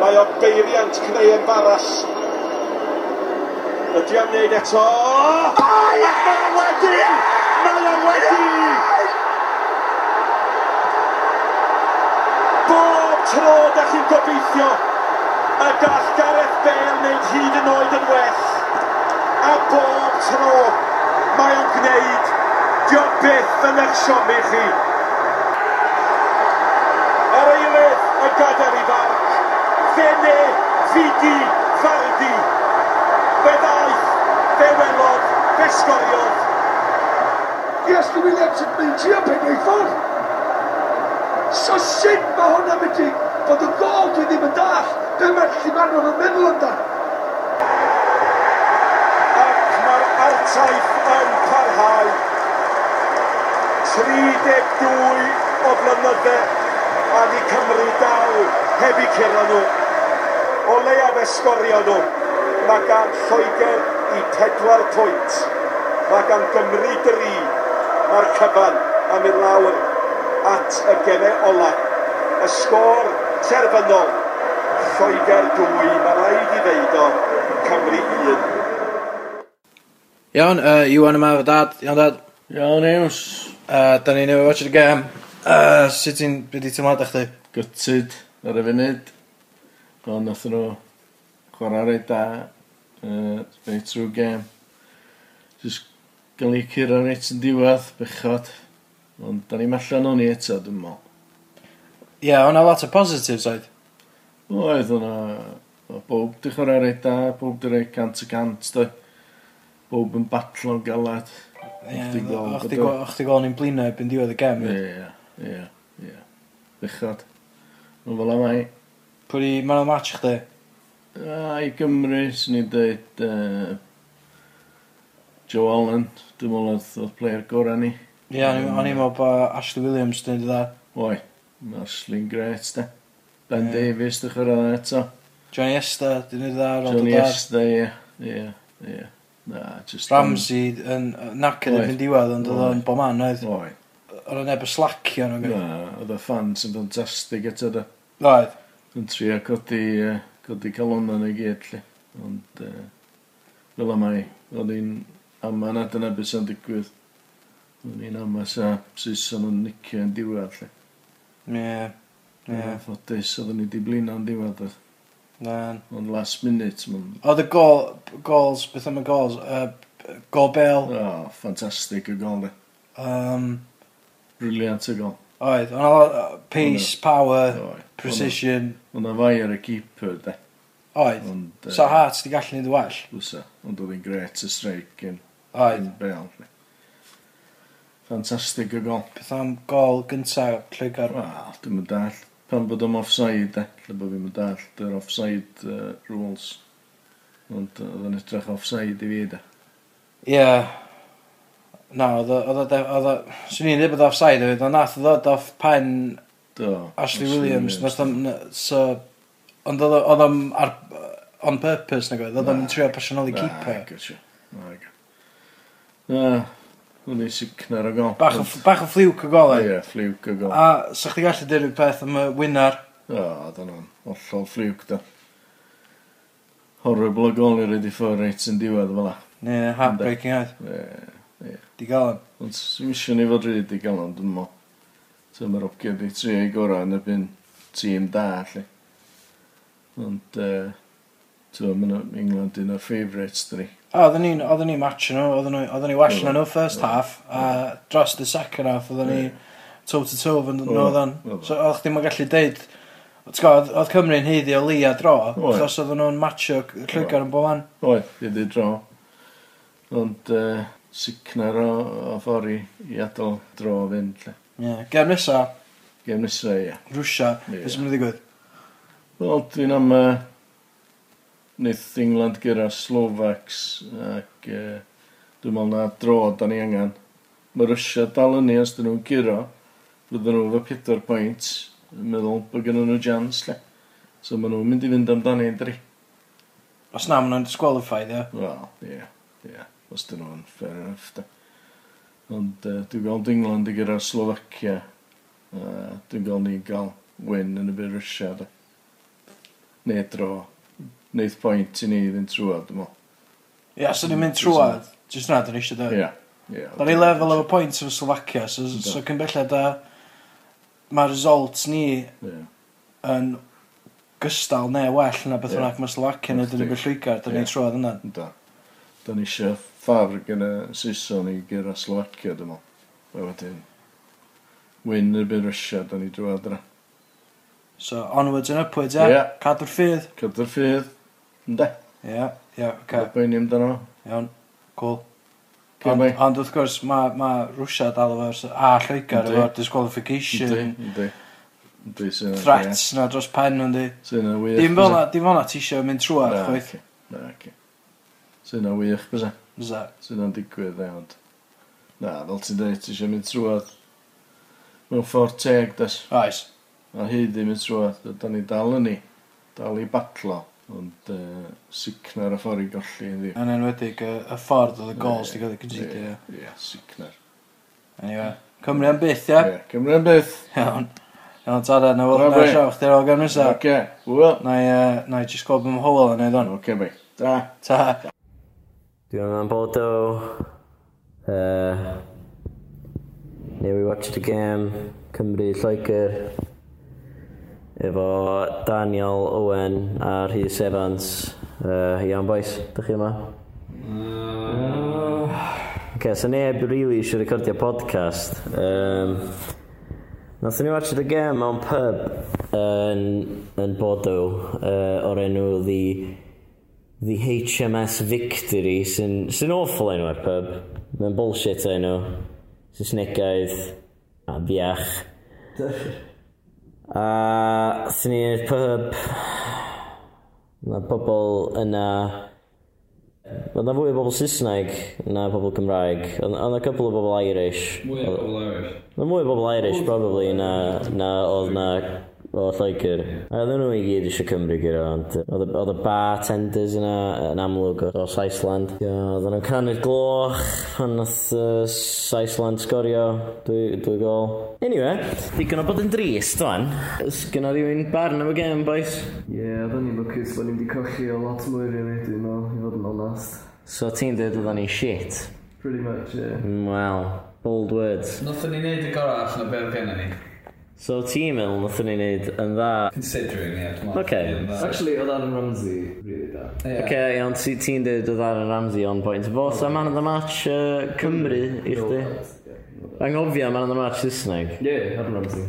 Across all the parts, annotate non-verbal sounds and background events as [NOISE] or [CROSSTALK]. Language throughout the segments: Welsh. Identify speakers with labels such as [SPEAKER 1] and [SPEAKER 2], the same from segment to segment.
[SPEAKER 1] Mae o beiriant Cneuen Baras. Ydy o'n neud eto? Ai, mae o wedi! Mae o wedi! Bob tro da chi'n gobeithio y gall Gareth Bale wneud hyd yn oed yn well. A bob tro mae o'n gwneud. Dio byth yn eich siomi chi. Yr eilydd y gadair i farc. Fene, fidi, fardi. Fe ddaeth, fe welodd, fe sgoriodd.
[SPEAKER 2] Yes, dwi'n mynd i'n mynd i o pennaethol. So sut mae hwnna medru bod yn gol dwi ddim yn dall. Be mae'r llifanwr yn meddwl amdan?
[SPEAKER 1] ac mae'r artaith yn parhau. 32 o flynydde a di Cymru dal heb eu curo nhw. O leia fe sgorio nhw. Mae gan Lloegr i pedwar pwynt. Mae gan Gymru dri. Mae'r cyfan am mynd lawr at y gemau ola. Y sgôr terfynol. Lloegr 2, mae rhaid i ddeud o Cymru 1.
[SPEAKER 3] Iawn, uh, Iwan yma, fy dad, iawn dad.
[SPEAKER 4] Iawn news.
[SPEAKER 3] Uh, da ni newydd watch the game. Uh, sut ti'n, be di tymlad chdi?
[SPEAKER 4] Gytid ar y funud. Ond nath nhw chwarae rei da. Uh, reit trwy gem. Jyst gael ei curo reit yn diwedd, bechod. Ond da ni'n allan o'n i eto, dwi'n mol.
[SPEAKER 3] Ie, yeah, o'na lot o positives oedd.
[SPEAKER 4] Oedd hwnna... o' Bob di chwarae reit da, bob di reit cant y cant, da. Bob yn batlo'n galad.
[SPEAKER 3] Ie,
[SPEAKER 4] O'ch di gweld
[SPEAKER 3] o'ch di
[SPEAKER 4] bod o-
[SPEAKER 3] gweld- o'ch di gweld ni'n blino erbyn diwedd y gem.
[SPEAKER 4] Ie,
[SPEAKER 3] Yeah.
[SPEAKER 4] ie, ie, ie. Bechod. Ond fel am ei.
[SPEAKER 3] Pwy di man o match chdi?
[SPEAKER 4] A i Gymru, swn i'n dweud uh, Joe Allen, dwi'n meddwl oedd oedd player gorau ni.
[SPEAKER 3] Ie, yeah,
[SPEAKER 4] Mm.
[SPEAKER 3] o'n i'n meddwl bod Ashley Williams yn dweud dda.
[SPEAKER 4] Oi, mae Slyn Gret, da. Ben
[SPEAKER 3] Ie.
[SPEAKER 4] Davies, dwi'n chwarae dda eto.
[SPEAKER 3] Johnny Esta, dwi'n dweud dda, Ronald
[SPEAKER 4] Johnny
[SPEAKER 3] Dar.
[SPEAKER 4] Esta, ie, ie, ie. Na, just...
[SPEAKER 3] Ramsey yn nacyd
[SPEAKER 4] Oedd.
[SPEAKER 3] yn diwedd, ond oedd
[SPEAKER 4] Oedd.
[SPEAKER 3] o'n bo man oedd.
[SPEAKER 4] Oi,
[SPEAKER 3] Oedd o'n neb y slacio nhw.
[SPEAKER 4] na,
[SPEAKER 3] gyd.
[SPEAKER 4] oedd y fans yn ffantastig eto, da.
[SPEAKER 3] Oedd.
[SPEAKER 4] Yn trio codi, uh, codi calonna nhw i gyd, lle. Ond, uh, fel am ei, oedd hi'n... A mae yna dyna beth sy'n digwydd. Oedd hi'n am sa Saeson yn nicio yn diwedd, lle.
[SPEAKER 3] Ie. Ie.
[SPEAKER 4] Yeah. Ffodus, oedden ni di blino yn diwedd oedd.
[SPEAKER 3] Na.
[SPEAKER 4] Ond last minute, mae'n...
[SPEAKER 3] Oedd y gol, gols, beth am y gols? Yy, Gol Bale.
[SPEAKER 4] Oh, ffantastig y gol, ne.
[SPEAKER 3] Um,
[SPEAKER 4] Briliant y gol.
[SPEAKER 3] Oedd, ond oedd uh, pace, power,
[SPEAKER 4] Oedd.
[SPEAKER 3] precision,
[SPEAKER 4] Ond a fai ar y keeper, de.
[SPEAKER 3] oedd.
[SPEAKER 4] Ond...
[SPEAKER 3] So Hart di gallu neud y well.
[SPEAKER 4] Wsa. Ond oedd hi'n gret y streic yn...
[SPEAKER 3] Oedd.
[SPEAKER 4] yn Bale, ne. Ffantastig y gol.
[SPEAKER 3] Beth am gol gynta Lloegr.
[SPEAKER 4] Wel, dim yn dall. Pan bod o'n offside, de. Lle bod fi'n dall. Dy'r offside uh, rules. Ond yy, oedd yn edrych offside i fi, de.
[SPEAKER 3] Ie. Na, oedd o- oedd o de- oedd o... Swn i'n dweud bod offside oedd, ond nath o ddod off pen
[SPEAKER 4] Do.
[SPEAKER 3] Ashley Williams. Nath o'n... na- So... Ond oedd o- oedd o'n ar... On purpose, nag oedd? Oedd o'n
[SPEAKER 4] Na.
[SPEAKER 3] trio personoli
[SPEAKER 4] Na,
[SPEAKER 3] keeper.
[SPEAKER 4] gysio. Na, gysio. Na, hwn i sicner o gol.
[SPEAKER 3] Bach o, bach o fliwc o gol oedd.
[SPEAKER 4] Ie, fliwc o gol.
[SPEAKER 3] A sa chdi gallu dweud rhywbeth am y winner?
[SPEAKER 4] O, dan o'n ollol fliwc da. Horrible o gol i rydw i ffwrdd reit yn diwedd fel la.
[SPEAKER 3] Ie, heartbreaking oedd.
[SPEAKER 4] Ie,
[SPEAKER 3] Di gael yn.
[SPEAKER 4] Ond swisio ni fod rydw i gael ond yn mo. So mae'r opgyd i tri ei gorau yn ebyn tîm da, lle. Ond, uh, ti'n mynd England un o'r favourites, dyn ni.
[SPEAKER 3] O, Ah, Oedden ni'n oedden ni match nhw, oedden ni, oedden ni wella nhw first half, a dros the second half, oedden ni
[SPEAKER 4] Mm. Ie.
[SPEAKER 3] toe to toe fynd yn
[SPEAKER 4] Oedd,
[SPEAKER 3] oedden.
[SPEAKER 4] oedd.
[SPEAKER 3] So oedden ni'n gallu deud, ti'n gwybod, oedd Cymru'n heiddi o li a dro,
[SPEAKER 4] Oedd.
[SPEAKER 3] achos oedden nhw'n matcho llwygar yn bolan.
[SPEAKER 4] Oedd, dwi wedi dro. Ond uh, sicner o, o ffordd i, i adael dro fynd. Lle.
[SPEAKER 3] Ie. Gem nesa,
[SPEAKER 4] Gem nesa, ie.
[SPEAKER 3] Rwsia,
[SPEAKER 4] Ie.
[SPEAKER 3] beth sy'n mynd i ddigwydd?
[SPEAKER 4] Wel, dwi'n am... Uh, Nith England gyda Slovaks ac uh, dwi'n meddwl na dro da ni angen. Mae Russia dal yn ni os dyn nhw'n gyro. Fydden nhw efo pedwar pwynt. Yn meddwl bod gen nhw jans, lle. So maen nhw'n mynd i fynd amdani, dri.
[SPEAKER 3] Os na, maen nhw'n disqualified, ie.
[SPEAKER 4] Wel, ie, ie. Os dyn nhw'n fair enough, da. Ond uh, dwi'n gweld England i gyda Slovacia. Uh, dwi'n gweld ni gael win yn y byd Russia, da. neu dro. Neith pwynt i ni fynd trwad, dwi'n meddwl.
[SPEAKER 3] Ia, so ni'n mynd trwad. Just na, dyn ni eisiau dweud.
[SPEAKER 4] Mm, Ie. Ie.
[SPEAKER 3] Da ni level of a point yn Slovacia, so,
[SPEAKER 4] Yndw.
[SPEAKER 3] so cyn belled a mae results ni
[SPEAKER 4] Ie.
[SPEAKER 3] yn gystal neu well na beth
[SPEAKER 4] Ie.
[SPEAKER 3] yna mae Slovacia neu dyn ni'n
[SPEAKER 4] Wrth
[SPEAKER 3] Lloegar, dyn ni'n
[SPEAKER 4] Ie.
[SPEAKER 3] trwad yna.
[SPEAKER 4] Da. Da ni eisiau ffar gyda Saeson i gyda Slovacia, dwi'n meddwl. A wedyn, win y byd Rysia, da ni drwad yna.
[SPEAKER 3] So onwards and upwards,
[SPEAKER 4] Ie.
[SPEAKER 3] ia? Cadw'r ffydd?
[SPEAKER 4] Cadw'r ffydd. Ynda.
[SPEAKER 3] Ia, ia, oce,
[SPEAKER 4] Okay. Bwy'n ni amdano.
[SPEAKER 3] iawn, cool.
[SPEAKER 4] Cyn
[SPEAKER 3] Ond,
[SPEAKER 4] mai.
[SPEAKER 3] ond wrth gwrs, mae ma Rwysia dal efo'r s- a Lloegar
[SPEAKER 4] Yndi.
[SPEAKER 3] efo'r disqualification,
[SPEAKER 4] Ynddi. Ynddi. Ynddi sy'n...
[SPEAKER 3] threats na dros pen yndi.
[SPEAKER 4] Sy'n yna wych.
[SPEAKER 3] Dim fel
[SPEAKER 4] bysa?
[SPEAKER 3] na, dim fel na ti eisiau mynd trwad,
[SPEAKER 4] Na,
[SPEAKER 3] chwaith.
[SPEAKER 4] oce. Na, oce. Sy'n yna wych, bysa.
[SPEAKER 3] Fysa.
[SPEAKER 4] sydd yn digwydd e, ond... Na, fel ti'n dweud, ti eisiau mynd trwad. Mewn ffordd teg, des.
[SPEAKER 3] Oes.
[SPEAKER 4] A hyd i mynd trwad, da ni dal yn ni. Dal i batlo. Ond uh, sicna'r y ffordd i golli yn ddim.
[SPEAKER 3] Yn enwedig y, y ffordd oedd y gols wedi cael ei cynseidio.
[SPEAKER 4] Ie, Ie, sicna'r.
[SPEAKER 3] Anyway, Cymru am byth, ia?
[SPEAKER 4] Ie, Cymru yn byth.
[SPEAKER 3] Iawn. Iawn, tada, na wyl
[SPEAKER 4] Bravo.
[SPEAKER 3] na siaw, chdi'r ôl gan nesa.
[SPEAKER 4] Oce, wel.
[SPEAKER 3] Na i, yy, na i just gweld bym hwyl yn ei ddon.
[SPEAKER 4] Oce, bai. Da.
[SPEAKER 3] Ta.
[SPEAKER 5] Doing an Bordeaux. Uh, yeah, we watched the game. Cymru Lloegr. Efo Daniel Owen a Rhys Evans. Uh, Iawn boys, dych chi yma? Okay, so neb really eisiau recordio podcast. Um, Nathon ni watch the game mewn pub yn, yn Bordeaux uh, o'r enw The the HMS Victory sy'n sy awful enw ar pub. Mae'n bullshit enw. Saesnegaidd. A biach. A sy'n ni'r pub. Mae pobl yna... Oedd na fwy o bobl Saesneg na pobl Cymraeg. Oedd oedd na cwpl o bobl Irish.
[SPEAKER 6] Mwy o bobl Irish.
[SPEAKER 5] Mae mwy o bobl Irish, probably, na, na oedd na o Lloegr. A oedden nhw i gyd eisiau Cymru gyda, ond yy, oedd y- oedd y bartenders yna uh, yn amlwg o- o Saesland. Ie, Oedden nhw'n canu'r gloch pan nath uh, Saesland sgorio dwy, dwy gol. Anyway, digon o bod yn drist, dwan. Ys gyna rhywun barn am y game, boys.
[SPEAKER 6] Ie, yeah, oedden ni'n lwcus bod ni'n di colli o lot mwy rili, dwi'n meddwl, i fod yn onast.
[SPEAKER 5] So ti'n dweud oedden ni shit.
[SPEAKER 6] Pretty much, ie. Yeah.
[SPEAKER 5] Wel, bold words.
[SPEAKER 6] Nothen ni wneud y gorau allan o beth gen ni.
[SPEAKER 5] So ti'n meddwl nathon ni wneud yn dda
[SPEAKER 6] Considering, ie, dwi'n
[SPEAKER 5] Ocê.
[SPEAKER 6] Actually, oedd Adam Ramsey, really da. Ie.
[SPEAKER 5] Oce, okay, iawn, ti- ti'n dweud oedd Aaron Ramsey on point. Fo, sa man of the match uh, Cymru i chdi? Anghofio man of the match Saesneg.
[SPEAKER 6] Ie, Adam Ramsey.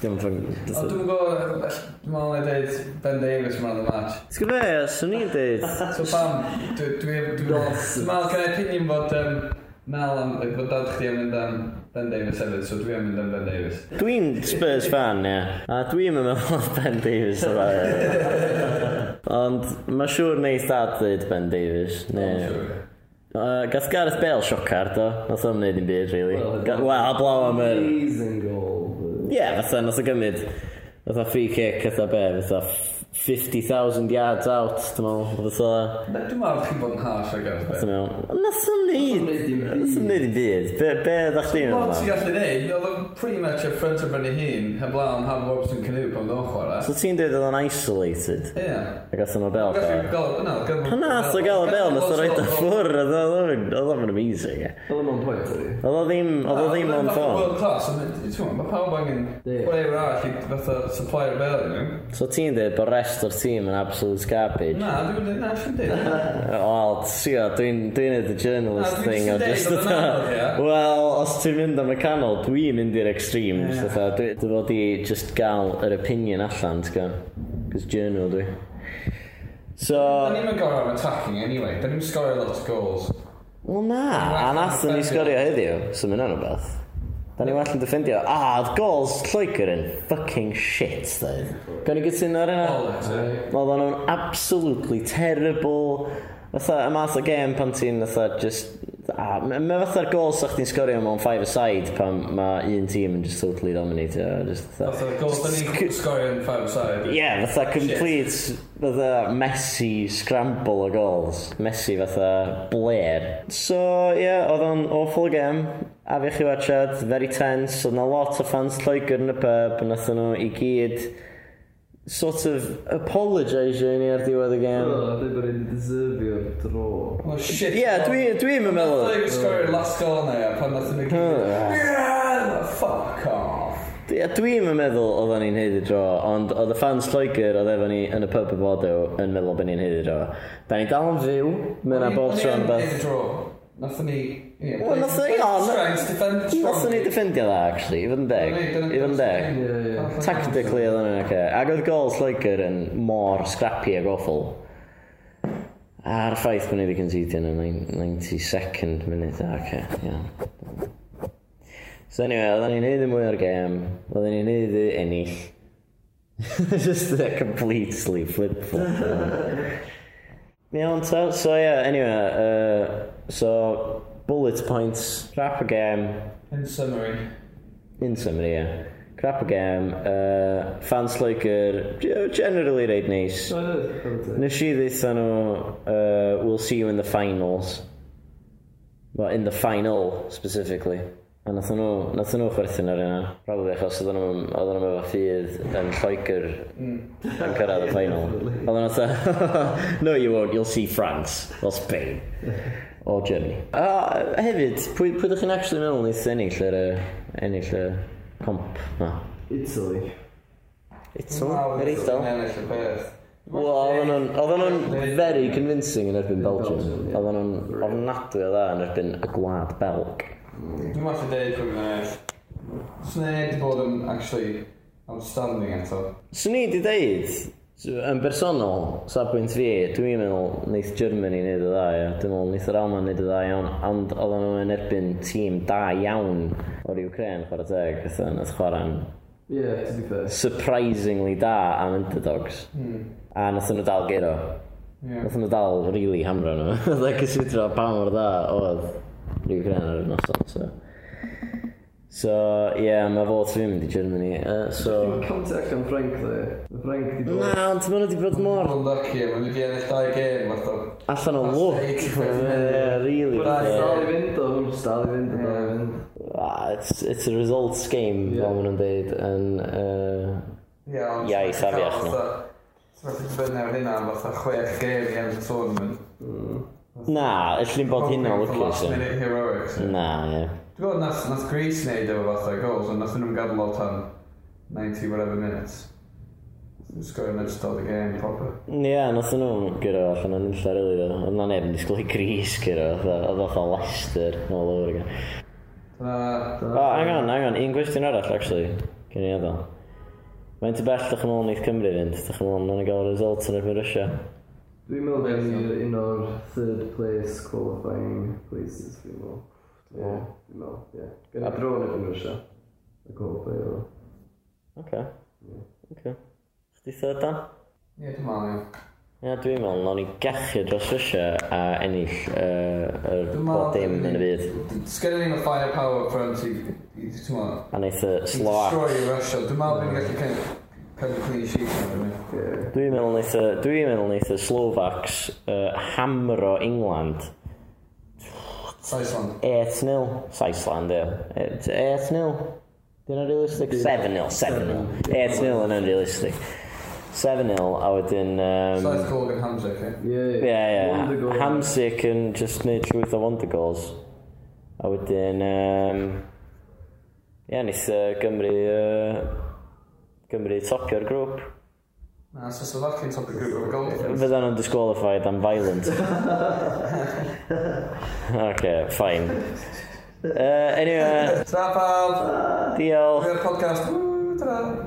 [SPEAKER 5] Dim ffyn...
[SPEAKER 6] O, dwi'n gwybod, dwi'n meddwl na i dweud Ben Davis man of the match.
[SPEAKER 5] Ti'n fe, swn i'n dweud...
[SPEAKER 6] So pam, dwi'n dwi'n
[SPEAKER 5] [LAUGHS]
[SPEAKER 6] meddwl gen i opinion bod um, Mel am, bod dad chdi am mynd am Ben Davis hefyd, so dwi'n mynd am Ben Davis.
[SPEAKER 5] Dwi'n Spurs fan, ie. A dwi'n yn meddwl oedd Ben Davis o dda. ie. Ond mae siŵr neith dad dweud Ben Davis. Ne. Uh, gath Gareth Bale siocard o, nath o'n wneud i'n byd, really. Ga- Wel, a blaw am yr...
[SPEAKER 6] Amazing goal.
[SPEAKER 5] Ie, yeah, fatha nath o gymryd fatha free kick, fatha be, fatha f- 50,000 yards out, dwi'n meddwl, fatha,
[SPEAKER 6] Dwi'n meddwl chi'n bod yn harsh ag ar
[SPEAKER 5] dwi'n meddwl, nath o'n neud, nath o'n neud i byd, be, be ddech chi'n
[SPEAKER 6] Wel, ti'n
[SPEAKER 5] meddwl?
[SPEAKER 6] gallu neud, oedd o'n pretty much a ffrant o fyny hun, heblaw am Ham Robson Canoe pan ddo'n chwarae.
[SPEAKER 5] So ti'n dweud oedd o'n isolated,
[SPEAKER 6] Ie.
[SPEAKER 5] a gath o'n o bel
[SPEAKER 6] Gallu
[SPEAKER 5] ffordd.
[SPEAKER 6] gael, na, gael...
[SPEAKER 5] Hwna, nath o gael y bel, nath o roed o ffwr, oedd o'n- oedd o'n amazing, ie.
[SPEAKER 6] Oedd o'n pwynt oedd hi.
[SPEAKER 5] Oedd o ddim, oedd o ddim on ffôn.
[SPEAKER 6] World class, ond mae pawb angen, whatever arall, i fatha supply o bel, you know?
[SPEAKER 5] So ti'n dweud bod rest o'r tîm yn absolute garbage.
[SPEAKER 6] Na, dwi'n dweud, na, dwi'n dweud.
[SPEAKER 5] Wel, sio, dwi'n dwi'n neud y journalist
[SPEAKER 6] Na, dwi'n
[SPEAKER 5] thing o
[SPEAKER 6] jyst
[SPEAKER 5] just
[SPEAKER 6] yn deud bod yn anodd, ie.
[SPEAKER 5] Wel, os ti'n mynd am y canol, dwi'n mynd i'r extremes. Yeah. Dwi, dwi fod i just gael yr opinion allan, ti'n gael. Cos journal dwi. So,
[SPEAKER 6] Da ni'n mynd gorau am attacking anyway, da ni'n sgorio lot o goals.
[SPEAKER 5] wel na, a nath ni sgorio heddiw, so mynd o'n rhywbeth. Da ni well yn defendio. Ah, oedd goals Lloegr yn fucking shit, dweud. Gawn ni gytuno ar hynna?
[SPEAKER 6] Bollocks, eh?
[SPEAKER 5] Oedd nhw'n absolutely terrible. Fatha, y math o game pan ti'n fatha just... A, mae ma fatha'r gol sa chdi'n sgorio mewn 5-a-side pan mae un tîm yn just totally dominate. o, Just
[SPEAKER 6] Fatha,
[SPEAKER 5] fatha...
[SPEAKER 6] goals da ni'n sgorio yn five side.
[SPEAKER 5] Ie, yeah, fatha complete, fatha messy scramble o goals. Messy fatha Blair. So, ie, yeah, oedd o'n awful game. A fi chi watchad, very tense. Oedd na lot o fans Lloegr yn y pub, a nath nhw i gyd sort of apologising i'r diwedd y gêm.
[SPEAKER 7] Dwi'n bod yn deserfio dro.
[SPEAKER 6] Oh shit.
[SPEAKER 5] Ie, dwi- dwi'm yn meddwl. Hmm.
[SPEAKER 6] Dwi'n sgorio last goal na ia, pan nath ni gyd. Yeah, Fuck off.
[SPEAKER 5] Ie, Dwi'm yn meddwl oedden ni'n heiddi dro, ond oedd y fans Lloegr oedd efo ni yn y pub y bodo yn meddwl bod ni'n heiddi dro. Da ni dal yn fyw, mae yna bob tro yn beth.
[SPEAKER 6] Nath ni... ie,
[SPEAKER 5] Wel, nathon ni-
[SPEAKER 6] play-
[SPEAKER 5] o, na-
[SPEAKER 6] Strengths, defend
[SPEAKER 5] Nath ni
[SPEAKER 6] strongly.
[SPEAKER 5] defendio dda, actually, i fod yn deg. I fod yn deg. Tactically oedd hwnna'n oce. Ac oedd gol Lloegr yn mor scrappy ac awful. A'r ffaith bod ni wedi conceidio yn y 92nd minute, a oce, iawn. So anyway, oedden ni'n neud mwy o'r gêm, oedden ni'n neud ennill. [LAUGHS] Just a completely flip-flop. Iawn, so, so yeah, anyway, uh, so bullet points, crap a game,
[SPEAKER 6] In summary.
[SPEAKER 5] In summary, yeah. Crap o gem. Uh, fans Lloegr, ge- generally reit neis.
[SPEAKER 7] e?
[SPEAKER 5] Nes i ddeitha nhw, uh, we'll see you in the finals. Well, in the final, specifically. A nathon nhw, nathon nhw chwerthin ar yna. Probably achos oedden nhw'n oedden nhw'n efo ffydd yn Lloegr yn cyrraedd y final. Oedden nhw'n dweud, [LAUGHS] no you won't, you'll see France, or Spain, or Germany. A hefyd, pwy, pwy ydych chi'n actually meddwl wneud ennill yr yy, ennill y comp na?
[SPEAKER 7] Italy.
[SPEAKER 5] Ito,
[SPEAKER 6] Wow,
[SPEAKER 5] yr eithaf.
[SPEAKER 6] nathon ni ennill y peth.
[SPEAKER 5] Wel, oedden nhw'n- oedden nhw'n very convincing yn erbyn Belgium.
[SPEAKER 7] Belgium, ie.
[SPEAKER 5] Oedden nhw'n ofnadwy o dda yn erbyn y gwlad Belg.
[SPEAKER 6] Dwi'n math o deud pwy fyna eich. Swn i'n wedi bod yn actually outstanding eto.
[SPEAKER 5] Swn i wedi deud, yn bersonol, safbwynt fi, dwi'n meddwl wneith Germany wneud y dda, ia. Dwi'n meddwl wneith yr Alman wneud y dda iawn, ond oedden nhw yn erbyn tîm da iawn o'r Ukraine, chwarae teg, fatha, nath chwarae'n
[SPEAKER 7] Ie, to be fair.
[SPEAKER 5] surprisingly da am underdogs.
[SPEAKER 6] Hmm.
[SPEAKER 5] A nathon nhw dal gero.
[SPEAKER 6] Ie.
[SPEAKER 5] Nathon nhw dal really hamro nhw. [LAUGHS] Dda cysidro pa mor dda oedd Ukraine ar y noson, so... So, ie, yeah, mae fod fi mynd i Germany. Uh, so...
[SPEAKER 7] Mae contact am Frank dde. Mae Frank di bod...
[SPEAKER 5] Na, ond maen nhw wedi bod mor
[SPEAKER 6] Mae'n lucky, mae'n wedi ennill dau gêm, fath o.
[SPEAKER 5] Allan o
[SPEAKER 6] That's
[SPEAKER 5] look. [LAUGHS]
[SPEAKER 6] eighty percent.
[SPEAKER 5] Yeah, really.
[SPEAKER 7] Na,
[SPEAKER 5] yeah.
[SPEAKER 7] dal i fynd o, hwn dal i fynd o, dal i fynd.
[SPEAKER 5] Ah, it's, it's a results game, fel
[SPEAKER 7] Yeah.
[SPEAKER 5] maen nhw'n deud, yn... Uh,
[SPEAKER 6] Ie, ond...
[SPEAKER 5] Ie, eitha
[SPEAKER 6] ti'n cael
[SPEAKER 5] fiach nhw.
[SPEAKER 6] fatha- Ti'n methu dibynnu ar hynna, fatha chwech gêm i ennill tournament.
[SPEAKER 5] na, ellyn bod hynna'n
[SPEAKER 6] Hoping for
[SPEAKER 5] lwcus.
[SPEAKER 6] Last
[SPEAKER 5] ie. Mm.
[SPEAKER 6] minute heroics.
[SPEAKER 5] Na, ie.
[SPEAKER 6] Dwi'n gwybod nath, nath Greece neud efo fatha goals, ond nath nhw'n gadw lot tan 90 whatever minutes. Dwi'n sgorio yn ystod y game, proper.
[SPEAKER 5] Ie, nath nhw gyro allan yn illa rili ddo. Oedd na neb yn disgwyl i Gris gyro, oedd oedd o Leicester all over again.
[SPEAKER 6] Dyna...
[SPEAKER 5] O, hang on, hang on, un gwestiwn arall, actually, gen i addo. Mae'n ty bell, dych chi'n meddwl, neith Cymru fynd? Dych chi'n meddwl, na'n gael results yn erbyn Russia?
[SPEAKER 7] Dwi'n meddwl bod ni'n un o'r third place qualifying places, dwi'n meddwl. Ie, Dwi'n meddwl, ie. Gan i dro yn y Gymrysio. Y qualifier o.
[SPEAKER 5] Oce. Oce. Chdi third dan?
[SPEAKER 6] Ie, dwi'n meddwl, ie.
[SPEAKER 5] Ia, dwi'n meddwl, nawn ni gachu dros Russia a ennill yr uh,
[SPEAKER 6] Dwi'n
[SPEAKER 5] bob dim yn y byd.
[SPEAKER 6] d- Sgynny ni'n firepower front i... i- Ti'n meddwl?
[SPEAKER 5] A wneith y
[SPEAKER 6] i
[SPEAKER 5] Slovak...
[SPEAKER 6] Destroy Russia. Dwi'n meddwl bod ni'n gallu pen- pen y clean sheet yn fyny.
[SPEAKER 5] Dwi'n meddwl wneith y... Dwi'n meddwl wneith y Slovaks uh, hamro England.
[SPEAKER 6] Iceland.
[SPEAKER 5] 8-0. Saisland, ie. 8-0. Dyn nhw'n realistic? 7-0, 7-0. 8-0 yn unrealistic. 7-0, a wedyn... Um,
[SPEAKER 6] Saith gol gan Hamsik, ie.
[SPEAKER 7] Ie,
[SPEAKER 5] Ie,
[SPEAKER 7] Wonder
[SPEAKER 5] ie.
[SPEAKER 7] goal.
[SPEAKER 5] Hamsik yn just neud llwyth o wonder goals. A wedyn... Um, ie, nith uh, Gymru... Uh, Gymru topio'r grŵp.
[SPEAKER 6] Na, so Slovakia'n top y grŵp o'r gol.
[SPEAKER 5] Fyddan nhw'n disqualified am violent. [LAUGHS] OK, fine. Uh, anyway,
[SPEAKER 6] Tra pawb!
[SPEAKER 5] diolch.
[SPEAKER 6] We're a podcast. Woo, ta-ra.